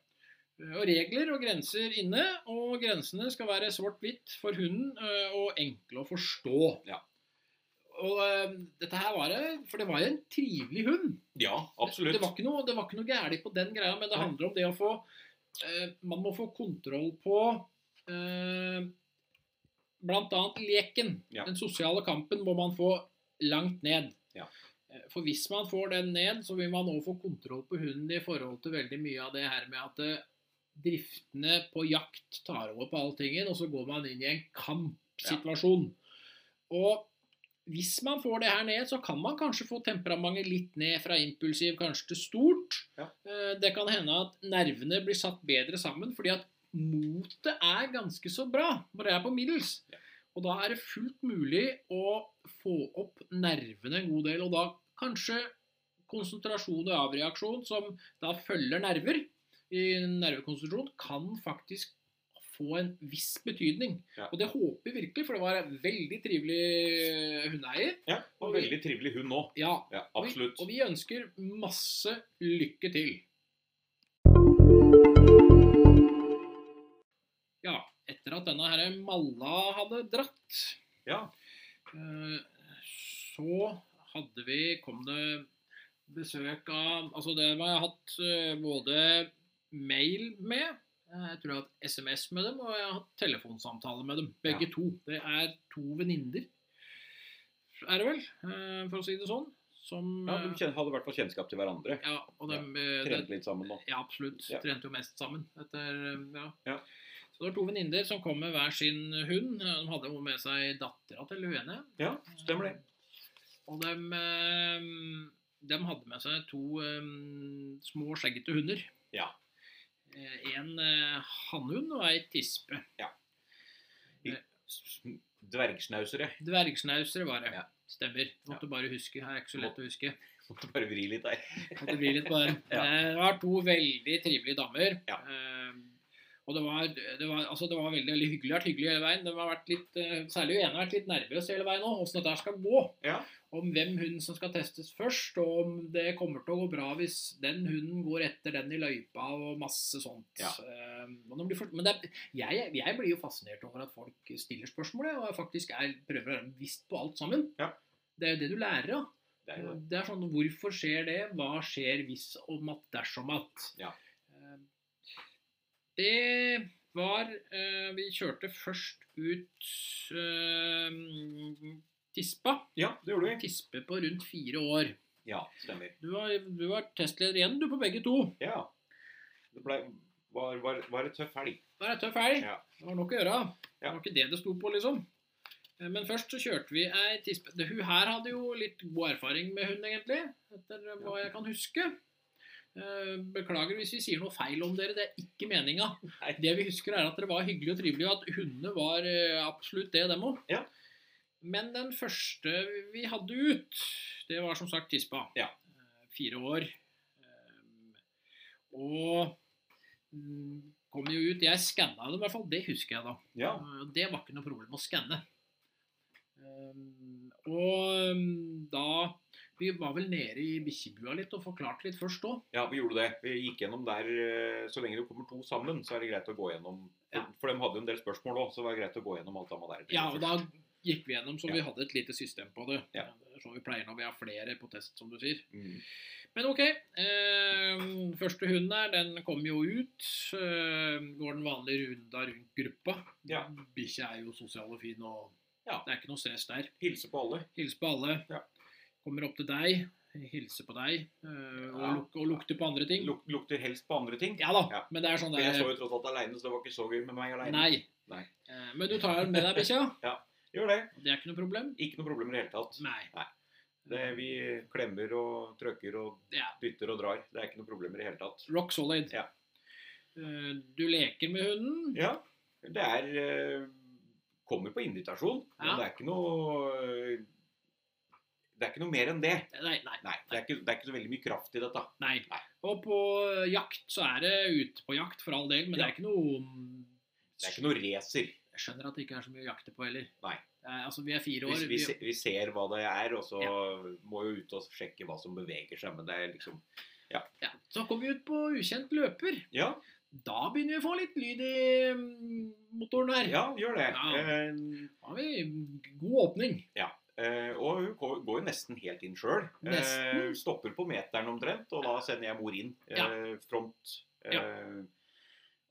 Speaker 2: Eh, Og regler og grenser inne, og grensene skal være svart-hvitt for hunden eh, og enkle å forstå.
Speaker 1: Ja.
Speaker 2: Og eh, dette her var det, for det var jo en trivelig hund.
Speaker 1: Ja, absolutt.
Speaker 2: Det var ikke noe, det var ikke noe gærlig på den greia, men det
Speaker 1: Nei.
Speaker 2: handler om det å få eh, Man må få kontroll på eh, bl.a. leken.
Speaker 1: Ja.
Speaker 2: Den sosiale kampen må man få langt ned.
Speaker 1: Ja.
Speaker 2: Eh, For hvis man får den ned, så vil man òg få kontroll på hunden i forhold til veldig mye av det her med at eh, driftene på jakt tar over på all tingen, og så går man inn i en kampsituasjon. Og hvis man får det her ned, så kan man kanskje få temperamentet litt ned fra impulsiv kanskje til stort.
Speaker 1: Ja.
Speaker 2: Eh, Det kan hende at nervene blir satt bedre sammen, fordi at motet er ganske så bra, bare det er på middels.
Speaker 1: Ja.
Speaker 2: Og da er det fullt mulig å få opp nervene en god del, og da kanskje konsentrasjon og avreaksjon, som da følger nerver i nervekonsentrasjon, kan faktisk få en viss betydning.
Speaker 1: Ja.
Speaker 2: Og det håper jeg virkelig, for det var en veldig trivelig eh, hundeeier.
Speaker 1: Ja, og
Speaker 2: Og vi-
Speaker 1: veldig trivelig hund nå.
Speaker 2: Ja,
Speaker 1: Ja,
Speaker 2: og vi-
Speaker 1: absolutt.
Speaker 2: Og vi ønsker masse lykke til. Ja, etter at denne herre Malla hadde dratt,
Speaker 1: Ja.
Speaker 2: eh, så hadde vi Kom det besøk av Altså, det har jeg hatt eh, både mail med eh, jeg tror jeg har hatt SMS med dem, og jeg har hatt telefonsamtale med dem. Begge to. Det er to venninner, er det vel, eh, for å si det sånn. Som
Speaker 1: Ja,
Speaker 2: eh,
Speaker 1: De kjen- hadde i hvert fall kjennskap til hverandre.
Speaker 2: ja, og de, eh,
Speaker 1: Trente
Speaker 2: det-
Speaker 1: litt sammen nå.
Speaker 2: ja, absolutt.
Speaker 1: Ja.
Speaker 2: Trente jo mest sammen. Etter, eh, ja.
Speaker 1: Ja.
Speaker 2: Så det var to venninner som kom med hver sin hund. eh, De hadde jo med seg dattera til hun ene.
Speaker 1: Ja, stemmer det.
Speaker 2: Og de, eh, de hadde med seg to eh, små skjeggete hunder.
Speaker 1: Ja.
Speaker 2: Eh, En eh, hannhund og ei tispe.
Speaker 1: Dvergsnausere.
Speaker 2: Dvergsnausere var det.
Speaker 1: Ja.
Speaker 2: Stemmer. Måtte bare huske. Her er ikke så lett å huske.
Speaker 1: Måtte bare vri litt der.
Speaker 2: At det blir litt på den.
Speaker 1: Ja.
Speaker 2: Eh, Det var to veldig trivelige damer.
Speaker 1: Ja.
Speaker 2: Eh, og det var, det var, altså det var veldig, veldig hyggelig. Det har vært hyggelig hele veien. Det har vært litt, eh, særlig hun ene har vært litt nervøs hele veien òg, åssen dette her skal gå.
Speaker 1: Ja.
Speaker 2: Om hvem hund som skal testes først, og om det kommer til å gå bra hvis den hunden går etter den i løypa, og masse sånt.
Speaker 1: Ja.
Speaker 2: Eh, og det blir fort- men det, er- jeg, jeg blir jo fascinert over at folk stiller spørsmål, jeg, og faktisk er, prøver å være bevisst på alt sammen.
Speaker 1: Ja.
Speaker 2: Det er jo det du lærer av.
Speaker 1: Det er jo det.
Speaker 2: Det er sånn, Hvorfor skjer det? Hva skjer hvis om at dersom at?
Speaker 1: Ja.
Speaker 2: Eh, Det var eh, Vi kjørte først ut eh, tispa.
Speaker 1: Ja, det gjorde vi.
Speaker 2: Tispe på rundt fire år.
Speaker 1: Ja, stemmer.
Speaker 2: Du var, du var testleder igjen, du, på begge to.
Speaker 1: Ja. Det ble, var, var, var en tøff helg.
Speaker 2: Det er tøff helg.
Speaker 1: Ja.
Speaker 2: Det var nok å gjøre. Det
Speaker 1: Ja.
Speaker 2: var ikke det det sto på, liksom. Eh, Men først så kjørte vi ei tispe Det- Hun her hadde jo litt god erfaring med hund, egentlig. Etter hva jeg kan huske. Eh, Beklager hvis vi sier noe feil om dere, det er ikke meninga.
Speaker 1: Nei.
Speaker 2: Det vi husker, er at dere var hyggelige og trivelige, og at hundene var eh, absolutt det, dem òg.
Speaker 1: Ja.
Speaker 2: Men den første vi hadde ut, det var som sagt tispa.
Speaker 1: Ja.
Speaker 2: Eh, Fire år. Eh, Og mm, kom jo ut. Jeg skanna dem i hvert fall, det husker jeg da.
Speaker 1: Ja.
Speaker 2: Eh, Det var ikke noe problem å skanne. Um, Og um, da Vi var vel nede i bikkjebua litt og forklarte litt først òg.
Speaker 1: Ja, vi gjorde det. Vi gikk gjennom der eh, Så lenge det kommer to sammen, så er det greit å gå gjennom
Speaker 2: Ja.
Speaker 1: For de hadde jo en del spørsmål òg, så det var greit å gå gjennom alt sammen der.
Speaker 2: Ja, og da gikk vi gjennom, så
Speaker 1: Ja.
Speaker 2: vi hadde et lite system på det.
Speaker 1: Ja.
Speaker 2: Som vi pleier når vi har flere på test, som du sier.
Speaker 1: Mm.
Speaker 2: Men ok. Eh, første hunden her, den kom jo ut. Eh, går den vanlige runda rundt gruppa.
Speaker 1: Ja.
Speaker 2: Bikkja er jo sosial og fin, og
Speaker 1: Ja.
Speaker 2: det er ikke noe stress der.
Speaker 1: Hilse på alle.
Speaker 2: Hilse på alle.
Speaker 1: Ja.
Speaker 2: Kommer opp til deg, hilser på deg, øh, og,
Speaker 1: Ja.
Speaker 2: luk og lukter på andre ting.
Speaker 1: Luk, lukter helst på andre ting.
Speaker 2: Ja da,
Speaker 1: Ja.
Speaker 2: men det er sånn
Speaker 1: For
Speaker 2: det
Speaker 1: jeg så
Speaker 2: er.
Speaker 1: jo tross alt aleine, så det var ikke så gøy med meg aleine.
Speaker 2: Nei.
Speaker 1: Nei.
Speaker 2: Eh, Men du tar den med deg, bikkja.
Speaker 1: Gjør det.
Speaker 2: Det er ikke noe problem.
Speaker 1: Ikke noe problem i det hele tatt.
Speaker 2: Nei.
Speaker 1: Det, vi klemmer og trøkker og
Speaker 2: Ja.
Speaker 1: dytter og drar. Det er ikke noe problem i det hele tatt.
Speaker 2: Rock solid.
Speaker 1: Ja.
Speaker 2: Eh, Du leker med hunden.
Speaker 1: Ja. Det er eh, Kommer på invitasjon, men
Speaker 2: Ja.
Speaker 1: det er ikke noe eh, Det er ikke noe mer enn det.
Speaker 2: Nei, nei,
Speaker 1: Nei, det er ikke, det er ikke så veldig mye kraft i dette.
Speaker 2: nei.
Speaker 1: Nei.
Speaker 2: Og på eh, jakt så er det ute på jakt, for all del, men det
Speaker 1: Ja.
Speaker 2: er ikke noe
Speaker 1: Det er ikke noe racer.
Speaker 2: Jeg skjønner at det ikke er så mye å jakte på heller.
Speaker 1: Nei.
Speaker 2: Eh, Altså, vi er fire
Speaker 1: Vi,
Speaker 2: år.
Speaker 1: vi, se- vi ser hva det er, og så må jo ut og sjekke hva som beveger seg. Men det er liksom
Speaker 2: ja. Så kom vi ut på ukjent løper.
Speaker 1: Ja,
Speaker 2: Da begynner vi å få litt lyd i mm, motoren her.
Speaker 1: ja gjør det.
Speaker 2: Ja.
Speaker 1: Eh,
Speaker 2: Da har vi god åpning.
Speaker 1: Eh, og hun går, går jo nesten helt inn sjøl. Eh,
Speaker 2: Nesten?
Speaker 1: stopper på meteren omtrent, og da sender jeg mor inn. Eh, Front. Eh,
Speaker 2: Ja.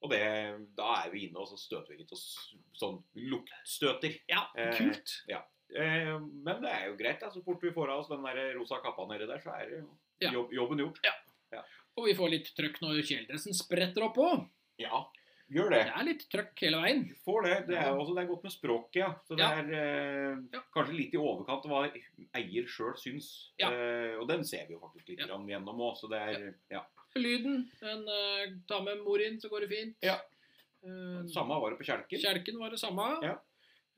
Speaker 1: Og det, da er vi inne, og så støter vi litt og s- sånn luktstøter.
Speaker 2: Ja,
Speaker 1: Eh,
Speaker 2: kult.
Speaker 1: Eh, men det er jo greit. Da. Så fort vi får av oss den der rosa kappa nedi der, så er det jo
Speaker 2: Ja.
Speaker 1: jobb, jobben gjort.
Speaker 2: Og vi får litt trøkk når kjeledressen spretter oppå.
Speaker 1: Ja, gjør det.
Speaker 2: Det er litt trøkk hele veien.
Speaker 1: Får det. Det er, jo også, det er godt med språket, ja. Så det
Speaker 2: Ja.
Speaker 1: er eh,
Speaker 2: Ja.
Speaker 1: kanskje litt i overkant hva eier sjøl syns.
Speaker 2: Ja.
Speaker 1: Eh, og den ser vi jo faktisk litt
Speaker 2: Ja.
Speaker 1: grann gjennom òg, så det er ja.
Speaker 2: Lyden. En uh, ta med mor inn, så går det fint.
Speaker 1: Ja.
Speaker 2: Eh,
Speaker 1: Samme var det på kjelken.
Speaker 2: Kjelken var det samme.
Speaker 1: Ja.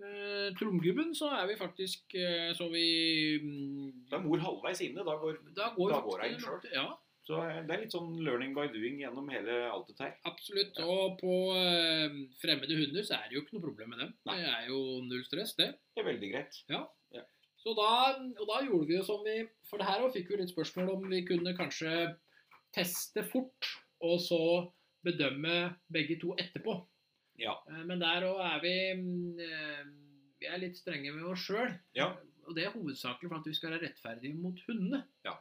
Speaker 2: Eh, Tromgubben, så er vi faktisk eh, Så vi mm,
Speaker 1: Da er mor halvveis inne. Da går,
Speaker 2: Da går,
Speaker 1: da
Speaker 2: faktisk
Speaker 1: går hun
Speaker 2: det
Speaker 1: sjøl.
Speaker 2: nok- Ja,
Speaker 1: Så eh, det er litt sånn learning by doing gjennom hele alt dette her.
Speaker 2: absolutt.
Speaker 1: Ja.
Speaker 2: Og på eh, fremmede hunder så er det jo ikke noe problem med dem.
Speaker 1: Nei.
Speaker 2: Det er jo null stress, det.
Speaker 1: Det er veldig greit.
Speaker 2: Ja.
Speaker 1: Ja.
Speaker 2: Så Så da, og da gjorde vi jo som vi For det her også fikk vi litt spørsmål om vi kunne kanskje teste fort, og så bedømme begge to etterpå.
Speaker 1: Ja.
Speaker 2: Eh, Men der òg er vi mm, eh, Vi er litt strenge med oss sjøl.
Speaker 1: Ja.
Speaker 2: Og det er hovedsakelig for at vi skal være rettferdige mot hundene.
Speaker 1: Ja.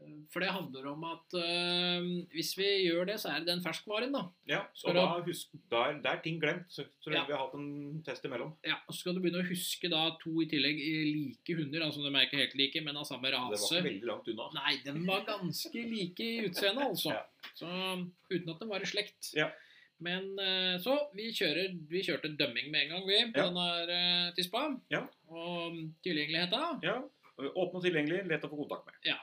Speaker 2: Eh, For det handler om at eh, hvis vi gjør det, så er det den ferskvaren, da.
Speaker 1: ja.
Speaker 2: Skal
Speaker 1: Og
Speaker 2: du
Speaker 1: da,
Speaker 2: ha-
Speaker 1: husk, da er, da er ting glemt, så så lenge
Speaker 2: Ja.
Speaker 1: vi har hatt en test imellom.
Speaker 2: Ja, og Så skal du begynne å huske da to i tillegg eh, like hunder. Altså de er ikke helt like, men av samme
Speaker 1: Det var
Speaker 2: rase.
Speaker 1: ikke veldig langt unna.
Speaker 2: Nei, de var ganske like i utseendet, altså.
Speaker 1: Ja.
Speaker 2: Så Uten at de var i slekt.
Speaker 1: Ja.
Speaker 2: Men eh, så Vi, kjører, vi kjørte dømming med en gang, vi, på
Speaker 1: Ja.
Speaker 2: denne her eh, tispa.
Speaker 1: Ja.
Speaker 2: Og tilgjengeligheta.
Speaker 1: Ja. Åpne og tilgjengelig, lett å få kontakt med.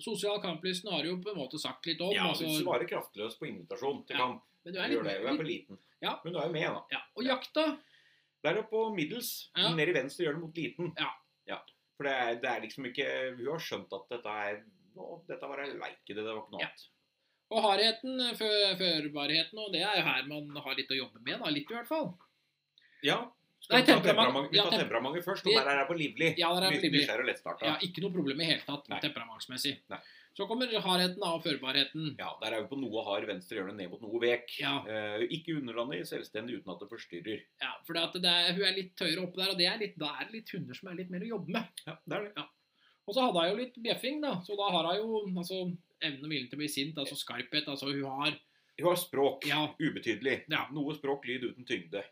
Speaker 2: Sosial kamplysten har jo på en måte sagt litt om.
Speaker 1: Ja,
Speaker 2: altså,
Speaker 1: Du svarer kraftløst på invitasjon til
Speaker 2: Ja.
Speaker 1: kamp.
Speaker 2: men du
Speaker 1: Du gjør
Speaker 2: er
Speaker 1: det.
Speaker 2: litt,
Speaker 1: Du er for liten.
Speaker 2: Ja.
Speaker 1: Men du er jo med, da.
Speaker 2: ja, Og jakta
Speaker 1: Der oppe på middels,
Speaker 2: Ja.
Speaker 1: nede i venstre, gjør det mot liten.
Speaker 2: Ja.
Speaker 1: For det er, det er liksom ikke Hun har skjønt at dette er nå, Dette var ei leike, det, det var ikke noe
Speaker 2: Ja.
Speaker 1: annet.
Speaker 2: og hardheten, eh, fø- førbarheten, og det er jo her man har litt å jobbe med, da. Litt i hvert fall.
Speaker 1: Ja. Skal
Speaker 2: Nei,
Speaker 1: vi ta
Speaker 2: temperament-
Speaker 1: temperament- vi
Speaker 2: ja,
Speaker 1: tar
Speaker 2: tem-
Speaker 1: temperamentet først,
Speaker 2: vi-
Speaker 1: og der er det på livlig.
Speaker 2: Ja, der er
Speaker 1: Litt
Speaker 2: livlig.
Speaker 1: nysgjerrig og lettstarta.
Speaker 2: Ja, ikke noe problem i hele tatt
Speaker 1: Nei.
Speaker 2: temperamentsmessig.
Speaker 1: Nei.
Speaker 2: Så kommer hardheten da, og førbarheten.
Speaker 1: Ja, der er vi på noe hard venstre hjørne ned mot noe vek.
Speaker 2: Ja.
Speaker 1: Eh, ikke underlandig, selvstendig uten at det forstyrrer.
Speaker 2: Ja, for det at det er, hun er litt høyere oppe der, og det er litt, da er det litt hunder som er litt mer å jobbe med.
Speaker 1: Ja, det er det.
Speaker 2: Og så hadde hun jo litt bjeffing, da, så da har hun jo altså, evnen og viljen til å bli sint, altså skarphet. Altså hun har
Speaker 1: Hun har språk.
Speaker 2: Ja.
Speaker 1: Ubetydelig.
Speaker 2: Ja.
Speaker 1: Noe språk, lyd uten tyngde.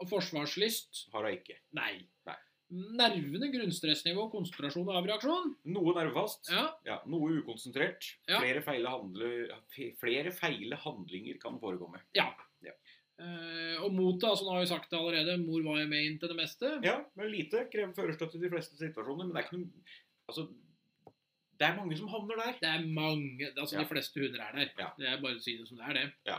Speaker 2: Og forsvarslyst.
Speaker 1: Har hun ikke.
Speaker 2: Nei.
Speaker 1: Nei.
Speaker 2: Nervene, grunnstressnivå, konsentrasjon og avreaksjon.
Speaker 1: Noe nervefast.
Speaker 2: Ja,
Speaker 1: Ja, noe ukonsentrert.
Speaker 2: Ja.
Speaker 1: Flere, feile handle, fe- flere feile handlinger kan forekomme.
Speaker 2: Eh, og motet, altså nå har vi sagt det allerede, mor var jo med inn til det meste.
Speaker 1: Ja, men lite krever førerstøtte i de fleste situasjoner. Men det er ikke noe Altså, det er mange som havner der.
Speaker 2: Det er mange, altså
Speaker 1: Ja.
Speaker 2: de fleste hunder er der.
Speaker 1: Ja.
Speaker 2: Det er bare å si det som det er det.
Speaker 1: Ja.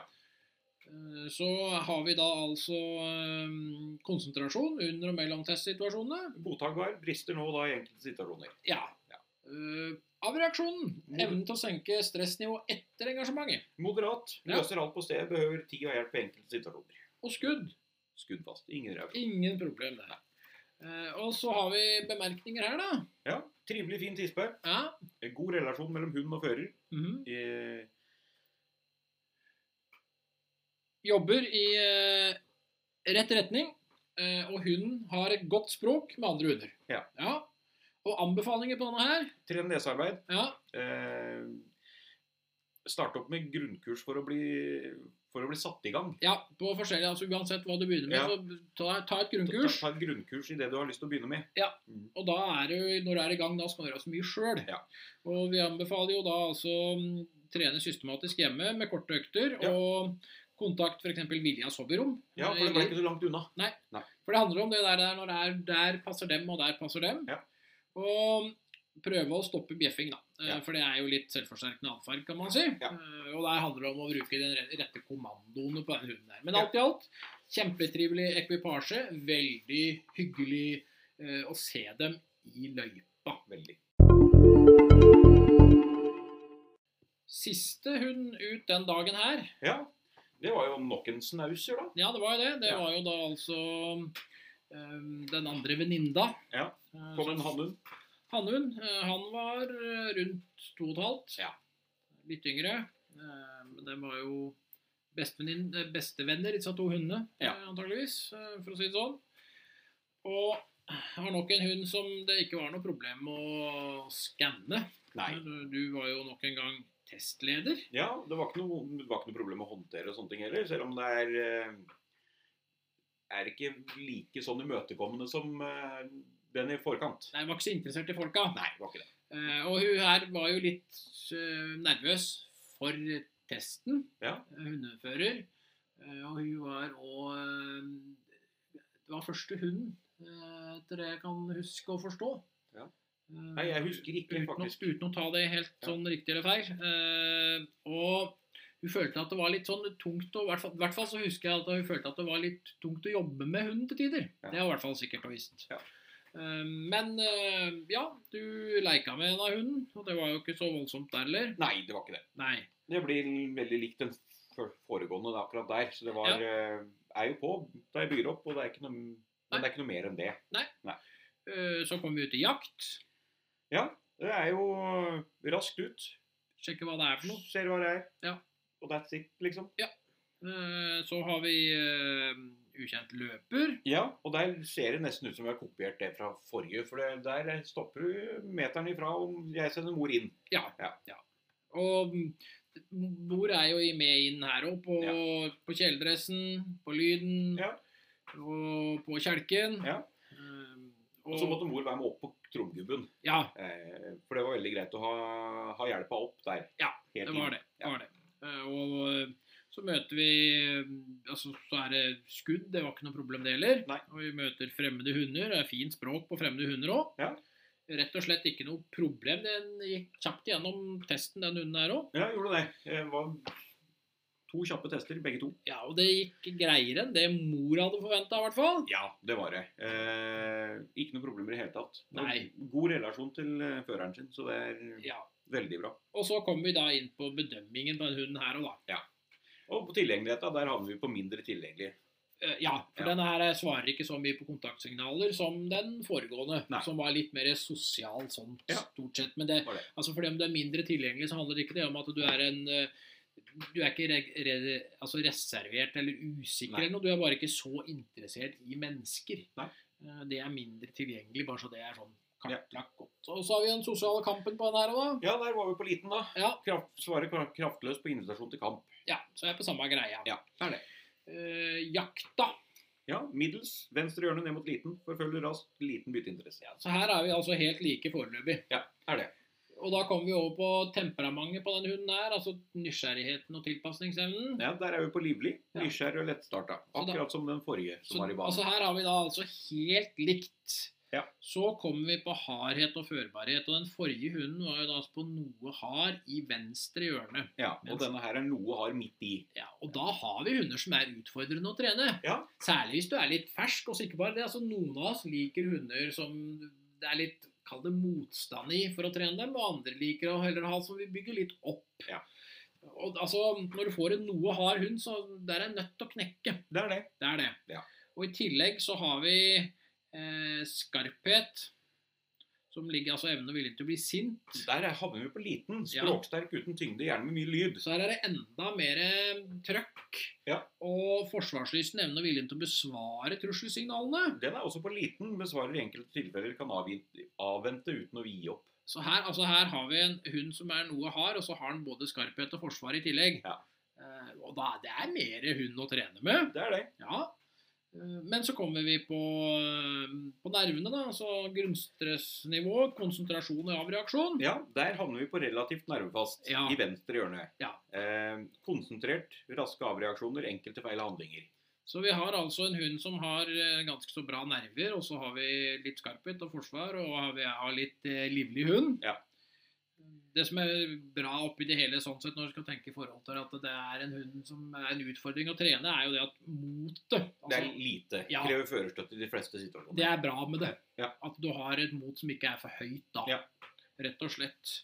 Speaker 2: Eh, Så har vi da altså eh, konsentrasjon under- og mellomtestsituasjonene.
Speaker 1: Godtakbar brister nå og da i enkelte situasjoner.
Speaker 2: Ja. Eh, Avreaksjonen. Evnen til å senke stressnivå etter engasjementet.
Speaker 1: Moderat.
Speaker 2: Ja.
Speaker 1: Løser alt på stedet. Behøver tid og hjelp i enkelte situasjoner.
Speaker 2: Og skudd.
Speaker 1: Skudd fast. Ingen reaksjon.
Speaker 2: Ingen problem der. Eh, Og så har vi bemerkninger her, da.
Speaker 1: Ja, Trivelig, fin tispe.
Speaker 2: Ja.
Speaker 1: God relasjon mellom hund og fører.
Speaker 2: mhm.
Speaker 1: Eh,
Speaker 2: Jobber i eh, rett retning. eh, og hunden har et godt språk med andre hunder.
Speaker 1: Ja.
Speaker 2: ja. Og anbefalinger på denne her
Speaker 1: Tren nesearbeid.
Speaker 2: Ja,
Speaker 1: Eh, starte opp med grunnkurs for å bli, for å bli satt i gang.
Speaker 2: ja på forskjellige, altså uansett hva du begynner med,
Speaker 1: Ja.
Speaker 2: så ta, ta et
Speaker 1: Ta,
Speaker 2: grunnkurs.
Speaker 1: ta et grunnkurs i det du har lyst til å begynne med.
Speaker 2: Og da er du, når du er i gang, da skal du gjøre så mye sjøl.
Speaker 1: Ja.
Speaker 2: Og vi anbefaler jo da altså mm, trene systematisk hjemme med korte økter.
Speaker 1: Ja.
Speaker 2: Og kontakt f.eks. Viljas hobbyrom.
Speaker 1: Ja, for det var ikke så langt unna.
Speaker 2: For det handler om det der, der når det er der passer dem, og der passer dem.
Speaker 1: Ja.
Speaker 2: Og prøve å stoppe bjeffing, da. Eh,
Speaker 1: Ja.
Speaker 2: For det er jo litt selvforsterkende atferd, kan man si.
Speaker 1: Ja.
Speaker 2: Eh, Og der handler det om å bruke den re- rette kommandoene på den hunden der. Men
Speaker 1: Ja.
Speaker 2: alt i alt, kjempetrivelig ekvipasje. Veldig hyggelig eh, å se dem i løypa.
Speaker 1: Veldig.
Speaker 2: Siste hund ut den dagen her,
Speaker 1: Ja, det var jo nok en snauser, da.
Speaker 2: ja, det var jo det. Det
Speaker 1: Ja.
Speaker 2: var jo da altså eh, den andre venninna.
Speaker 1: Ja.
Speaker 2: Eh,
Speaker 1: Kom en
Speaker 2: som-
Speaker 1: hannhund.
Speaker 2: Hannhund, eh, han var eh, rundt to og et halvt.
Speaker 1: Ja.
Speaker 2: Litt yngre. Eh, Men de var jo bestevennin- eh, bestevenner, disse to hundene,
Speaker 1: Ja.
Speaker 2: eh, antageligvis, eh, for å si det sånn. Og har nok en hund som det ikke var noe problem å skanne.
Speaker 1: Nei.
Speaker 2: Du, du var jo nok en gang testleder.
Speaker 1: Ja, det var ikke noe, det var ikke noe problem å håndtere og sånne ting heller, selv om det er eh, er ikke like sånn imøtekommende som eh, den i forkant.
Speaker 2: Nei, var ikke så interessert i folka.
Speaker 1: Nei, det var ikke det.
Speaker 2: Eh, Og hun her var jo litt eh, nervøs for testen.
Speaker 1: Ja.
Speaker 2: eh, Hundefører. Eh, Og hun var òg Det var første hunden, eh, etter det jeg kan huske og forstå.
Speaker 1: Ja.
Speaker 2: Eh,
Speaker 1: Nei, jeg husker ikke,
Speaker 2: uten, å-
Speaker 1: faktisk.
Speaker 2: Uten å ta det helt
Speaker 1: Ja.
Speaker 2: sånn riktig eller feil. Eh, Og hun følte at det var litt sånn tungt å, I hvert fall- i hvert fall så husker jeg at hun følte at det var litt tungt å jobbe med hunden til tider.
Speaker 1: Ja.
Speaker 2: Det er i hvert fall sikkert og visst.
Speaker 1: Ja.
Speaker 2: Eh, Men eh, ja, du leika med en av hunden, og det var jo ikke så voldsomt der heller.
Speaker 1: Nei, det var ikke det.
Speaker 2: Nei.
Speaker 1: Det blir veldig likt den f- foregående da, akkurat der. Så det var, eh, er jo på da jeg bygger opp, og det er ikke noe, men det er ikke noe mer enn det.
Speaker 2: Eh, Eh, Så kom vi ut i jakt.
Speaker 1: Ja, det er jo raskt ut.
Speaker 2: Sjekke hva det er for noe.
Speaker 1: Ser hva det er.
Speaker 2: Ja.
Speaker 1: Og that's it, liksom.
Speaker 2: Eh, Så har vi eh, ukjent løper.
Speaker 1: Ja, og der ser det nesten ut som vi har kopiert det fra forrige, for det, der stopper du meteren ifra om jeg sender mor inn.
Speaker 2: Ja.
Speaker 1: Ja.
Speaker 2: Og mor er jo i- med inn her òg, på, på kjeledressen, på lyden
Speaker 1: Ja.
Speaker 2: og på kjelken.
Speaker 1: Ja.
Speaker 2: Eh,
Speaker 1: Og så måtte mor være med opp på tromgubben,
Speaker 2: Ja,
Speaker 1: eh, for det var veldig greit å ha, ha hjelpa opp der.
Speaker 2: Ja,
Speaker 1: Helt
Speaker 2: det var
Speaker 1: inn.
Speaker 2: det. det, var det. Eh, Og eh, så møter vi eh, altså Så er det skudd, det var ikke noe problem det heller.
Speaker 1: Nei.
Speaker 2: Og vi møter fremmede hunder. Det er fint språk på fremmede hunder òg.
Speaker 1: Ja.
Speaker 2: Rett og slett ikke noe problem. Den gikk kjapt gjennom testen, den hunden her òg.
Speaker 1: Ja, gjorde det. Det var to kjappe tester, begge to.
Speaker 2: Ja, og det gikk greiere enn det mor hadde forventa, i hvert fall.
Speaker 1: Ja, det var det. Eh, ikke noe problemer i det hele tatt. Det var
Speaker 2: Nei.
Speaker 1: God relasjon til eh, føreren sin, så det er
Speaker 2: Ja.
Speaker 1: veldig bra.
Speaker 2: Og så kommer vi da inn på bedømmingen på den hunden her òg, da.
Speaker 1: Og på tilgjengeligheta, der havner vi på mindre tilgjengelig.
Speaker 2: Eh, Ja, for
Speaker 1: Ja.
Speaker 2: denne her svarer ikke så mye på kontaktsignaler som den foregående,
Speaker 1: Nei.
Speaker 2: som var litt mer sosial sånn
Speaker 1: Ja.
Speaker 2: stort sett. Men det,
Speaker 1: Var det.
Speaker 2: altså fordi om du er mindre tilgjengelig, så handler ikke det om at du er en eh, du er ikke re re altså reservert eller usikker
Speaker 1: Nei.
Speaker 2: eller noe, du er bare ikke så interessert i mennesker.
Speaker 1: Nei.
Speaker 2: Eh, Det er mindre tilgjengelig, bare så det er sånn
Speaker 1: Ja.
Speaker 2: kartlagt godt. Og så har vi den sosiale kampen på den her òg, da.
Speaker 1: Ja, der var vi på liten, da.
Speaker 2: Ja.
Speaker 1: Kraft, svare kra- kraftløst på invitasjon til kamp.
Speaker 2: ja, så er jeg på samme greia.
Speaker 1: Ja, det er det.
Speaker 2: Eh, jakta.
Speaker 1: Ja, middels. Venstre hjørne ned mot liten. Forfølger raskt. Liten bytteinteresse. Ja,
Speaker 2: Så her er vi altså helt like foreløpig.
Speaker 1: er det.
Speaker 2: Og da kommer vi over på temperamentet på den hunden her, altså nysgjerrigheten og tilpasningsevnen.
Speaker 1: Ja, der er vi på livlig.
Speaker 2: Ja.
Speaker 1: Nysgjerrig og lettstarta.
Speaker 2: Så da-
Speaker 1: Akkurat som den forrige som
Speaker 2: Så,
Speaker 1: var i banen.
Speaker 2: altså her har vi da altså helt likt.
Speaker 1: Ja.
Speaker 2: Så kommer vi på hardhet og førbarhet, og den forrige hunden var jo da altså på noe hard i venstre hjørne.
Speaker 1: Ja, og denne her er noe hard midt i.
Speaker 2: Ja, og da har vi hunder som er utfordrende å trene.
Speaker 1: Ja.
Speaker 2: Særlig hvis du er litt fersk, og så ikke bare det. Altså, noen av oss liker hunder som det er litt Kall det motstand i for å trene dem, og andre liker å heller ha som vi bygger litt opp.
Speaker 1: Ja.
Speaker 2: Og altså, Når du får en noe hard hund, så der er en nødt til å knekke.
Speaker 1: Det er det.
Speaker 2: Det er det.
Speaker 1: Ja.
Speaker 2: Og i tillegg så har vi eh, skarphet, som ligger altså evnen og viljen til å bli sint.
Speaker 1: Der er- havner vi på liten.
Speaker 2: Ja.
Speaker 1: Språksterk uten tyngde, gjerne med mye lyd.
Speaker 2: Så her er det enda mer eh, trøkk.
Speaker 1: Ja.
Speaker 2: Og forsvarslysten evner og viljen til å besvare trusselsignalene.
Speaker 1: Den er også på liten. Besvarer i enkelte tilfeller kan avgi- avvente uten å gi opp.
Speaker 2: Så her, altså her har vi en hund som er noe hard, og så har han både skarphet og forsvar i tillegg.
Speaker 1: Ja.
Speaker 2: Eh, og da, det er mer hund å trene med.
Speaker 1: Det er det.
Speaker 2: Ja. Eh, Men så kommer vi på, eh, på nervene, da. Altså grunnstressnivå, konsentrasjon og avreaksjon.
Speaker 1: Ja, der havner vi på relativt nervefast
Speaker 2: Ja.
Speaker 1: i venstre hjørne.
Speaker 2: Ja.
Speaker 1: Eh, konsentrert, raske avreaksjoner, enkelte feil handlinger.
Speaker 2: Så vi har altså en hund som har eh, ganske så bra nerver, og så har vi litt skarphet og forsvar, og har vi har litt eh, livlig hund.
Speaker 1: Ja.
Speaker 2: Det som er bra oppi det hele sånn sett, når du skal tenke i forhold til at det er en hund som er en utfordring å trene, er jo det at motet
Speaker 1: Det er
Speaker 2: altså,
Speaker 1: lite.
Speaker 2: Ja.
Speaker 1: Krever førerstøtte i de fleste situasjoner.
Speaker 2: Det er bra med det.
Speaker 1: Ja.
Speaker 2: At du har et mot som ikke er for høyt, da.
Speaker 1: Ja.
Speaker 2: Rett og slett.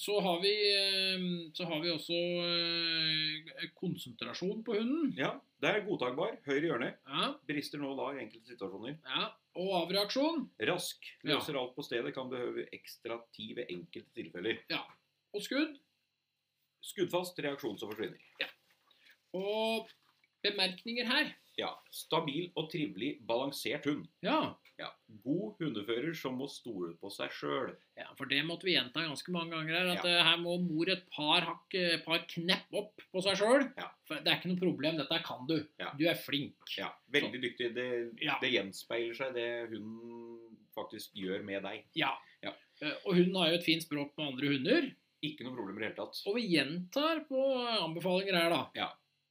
Speaker 2: Så har vi, eh, så har vi også eh, konsentrasjon på hunden.
Speaker 1: Ja, det er godtakbar. Høyre hjørne.
Speaker 2: Ja,
Speaker 1: Brister nå og da i enkelte situasjoner.
Speaker 2: ja. Og avreaksjon.
Speaker 1: Rask.
Speaker 2: Ja.
Speaker 1: Løser alt på stedet. Kan behøve ekstra tid ved enkelte tilfeller.
Speaker 2: og skudd.
Speaker 1: Skuddfast. Reaksjon som forsvinner.
Speaker 2: Og bemerkninger her.
Speaker 1: Ja. Stabil og trivelig, balansert hund.
Speaker 2: Ja.
Speaker 1: Ja. God hundefører som må stole på seg sjøl.
Speaker 2: For det måtte vi gjenta ganske mange ganger her. At eh, her må mor et par, hakk, eh, par knepp opp på seg sjøl.
Speaker 1: Ja.
Speaker 2: For det er ikke noe problem. Dette kan du.
Speaker 1: Ja.
Speaker 2: Du er flink.
Speaker 1: Ja, veldig dyktig. Det,
Speaker 2: Sånn. Ja.
Speaker 1: det gjenspeiler seg det hun faktisk gjør med deg.
Speaker 2: Ja.
Speaker 1: Ja.
Speaker 2: Eh, Og hunden har jo et fint språk med andre hunder.
Speaker 1: Ikke noe problem i det hele tatt.
Speaker 2: Og vi gjentar på anbefalinger her, da.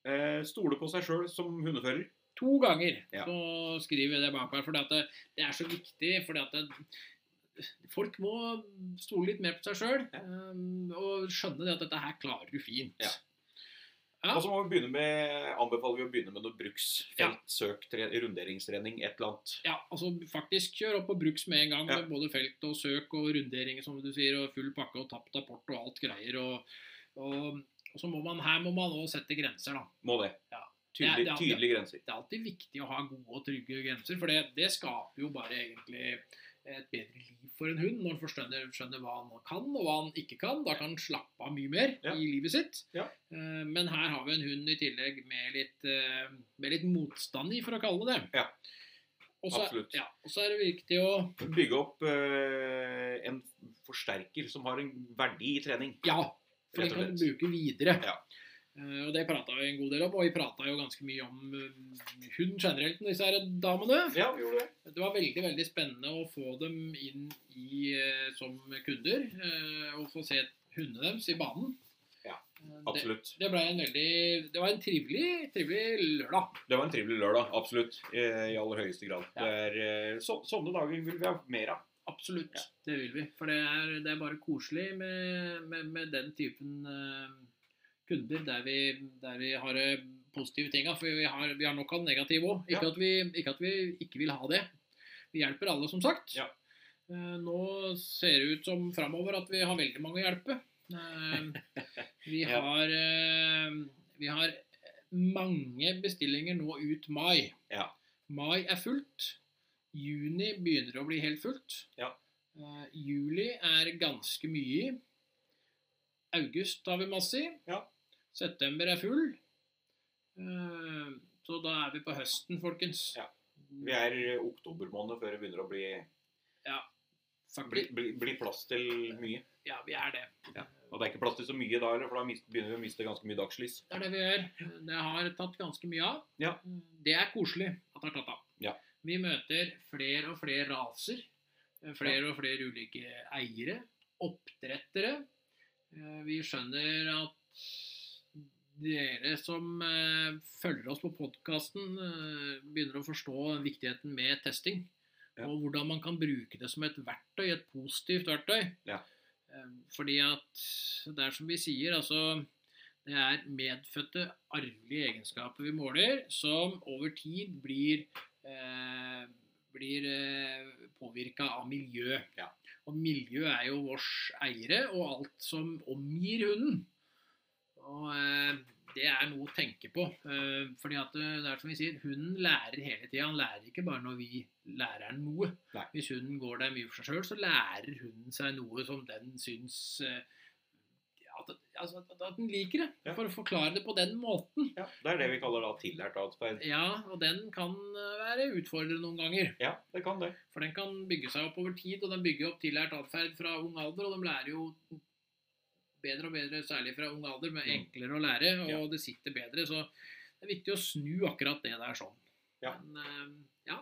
Speaker 1: Eh, stole på seg sjøl som hundefører.
Speaker 2: To ganger
Speaker 1: Ja.
Speaker 2: så skriver jeg det bak her, for det, det er så viktig. fordi at det, folk må stole litt mer på seg sjøl
Speaker 1: Ja.
Speaker 2: og skjønne det at dette her klarer du fint.
Speaker 1: Ja.
Speaker 2: Ja.
Speaker 1: Og så må vi begynne med, anbefaler vi å begynne med noe bruksfelt, søk, tre, runderingstrening, et eller annet.
Speaker 2: Ja, altså faktisk kjør opp og bruks med en gang.
Speaker 1: Ja.
Speaker 2: Med både felt og søk og runderinger, som du sier, og full pakke og tapt apport og alt greier. Og, og, og så må man her må man også sette grenser, da.
Speaker 1: Må det. Tydelig,
Speaker 2: det er-
Speaker 1: tydelige grenser.
Speaker 2: Det er alltid viktig å ha gode og trygge grenser, for det, det skaper jo bare egentlig et bedre liv for en hund når han forstønner- skjønner hva han kan og hva han ikke kan. Da kan han slappe av mye mer
Speaker 1: Ja.
Speaker 2: i livet sitt.
Speaker 1: Ja.
Speaker 2: Eh, Men her har vi en hund i tillegg med litt, eh, med litt motstand i, for å kalle det det.
Speaker 1: Ja.
Speaker 2: Og så-
Speaker 1: Absolutt.
Speaker 2: Ja, og så er det viktig å
Speaker 1: Bygge opp eh, en forsterker som har en verdi i trening.
Speaker 2: Ja, for
Speaker 1: Rett
Speaker 2: den
Speaker 1: og
Speaker 2: kan du
Speaker 1: slett.
Speaker 2: bruke videre.
Speaker 1: Ja.
Speaker 2: Eh, og det prata vi en god del om, og vi prata jo ganske mye om eh, hund generelt med disse her damene.
Speaker 1: Ja, vi gjorde det.
Speaker 2: Det var veldig veldig spennende å få dem inn i, eh, som kunder eh, og få se hundene deres i banen.
Speaker 1: Ja,
Speaker 2: Eh, det,
Speaker 1: Absolutt.
Speaker 2: det ble en veldig Det var en trivelig, trivelig lørdag.
Speaker 1: Det var en trivelig lørdag, absolutt. eh, I aller høyeste grad.
Speaker 2: Ja.
Speaker 1: Det er, eh, så, sånne dager vil vi ha mer av.
Speaker 2: Absolutt. Det vil vi. For det er, det er bare koselig med, med, med den typen eh, kunder der vi, der vi har eh, positive tinga. For vi har, vi har nok av negative òg. Ikke,
Speaker 1: Ja.
Speaker 2: at vi- ikke at vi ikke vil ha det. Vi hjelper alle, som sagt.
Speaker 1: Ja.
Speaker 2: Eh, nå ser det ut som framover at vi har veldig mange å hjelpe. Eh, vi,
Speaker 1: Ja.
Speaker 2: har, eh, vi har mange bestillinger nå ut mai.
Speaker 1: Ja.
Speaker 2: Mai er fullt. Juni begynner å bli helt fullt.
Speaker 1: Ja.
Speaker 2: Eh, juli er ganske mye i. August har vi masse i.
Speaker 1: Ja.
Speaker 2: September er full. Eh, så da er vi på høsten, folkens.
Speaker 1: Ja. Vi er eh, oktober måned før det begynner å bli,
Speaker 2: Faktisk-
Speaker 1: bli, bli, bli plass til mye.
Speaker 2: ja, vi er det.
Speaker 1: Og det er ikke plass til så mye da heller, for da mis- begynner vi å miste ganske mye dagslys.
Speaker 2: Det er det vi gjør. Det har tatt ganske mye av.
Speaker 1: Ja.
Speaker 2: Det er koselig at det har tatt av.
Speaker 1: Ja.
Speaker 2: Vi møter flere og flere raser. Flere og flere ulike eiere. Oppdrettere. Eh, Vi skjønner at dere som eh, følger oss på podkasten, begynner å forstå viktigheten med testing.
Speaker 1: Ja.
Speaker 2: Og hvordan man kan bruke det som et verktøy, et positivt verktøy.
Speaker 1: Ja.
Speaker 2: Eh, Fordi at det er som vi sier, altså det er medfødte arvelige egenskaper vi måler, som over tid blir, eh, blir eh, påvirka av miljø.
Speaker 1: Ja.
Speaker 2: Og miljø er jo vårs eiere og alt som omgir hunden. Og eh, det er noe å tenke på. Eh, fordi at eh, det er som vi sier, hunden lærer hele tida. Han lærer ikke bare når vi lærer han noe.
Speaker 1: Nei.
Speaker 2: Hvis hunden går der mye for seg sjøl, så lærer hunden seg noe som den syns eh, at, altså, at, at den liker det.
Speaker 1: Ja.
Speaker 2: For å forklare det på den måten.
Speaker 1: Ja, det er det vi kaller da tillært atferd.
Speaker 2: Ja, og den kan eh, være utfordrende noen ganger.
Speaker 1: Ja, det kan det.
Speaker 2: For den kan bygge seg opp over tid, og den bygger opp tillært atferd fra ung alder, og de lærer jo bedre og bedre, særlig fra ung alder, men
Speaker 1: Mm.
Speaker 2: enklere å lære, og
Speaker 1: Ja.
Speaker 2: det sitter bedre, så det er viktig å snu akkurat det der sånn.
Speaker 1: Ja.
Speaker 2: Men, eh, ja.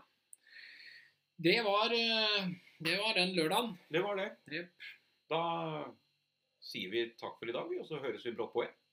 Speaker 2: Det var, eh, det var den lørdagen.
Speaker 1: Det var det.
Speaker 2: Jepp.
Speaker 1: Da sier vi takk for i dag, og så høres vi brått på igjen.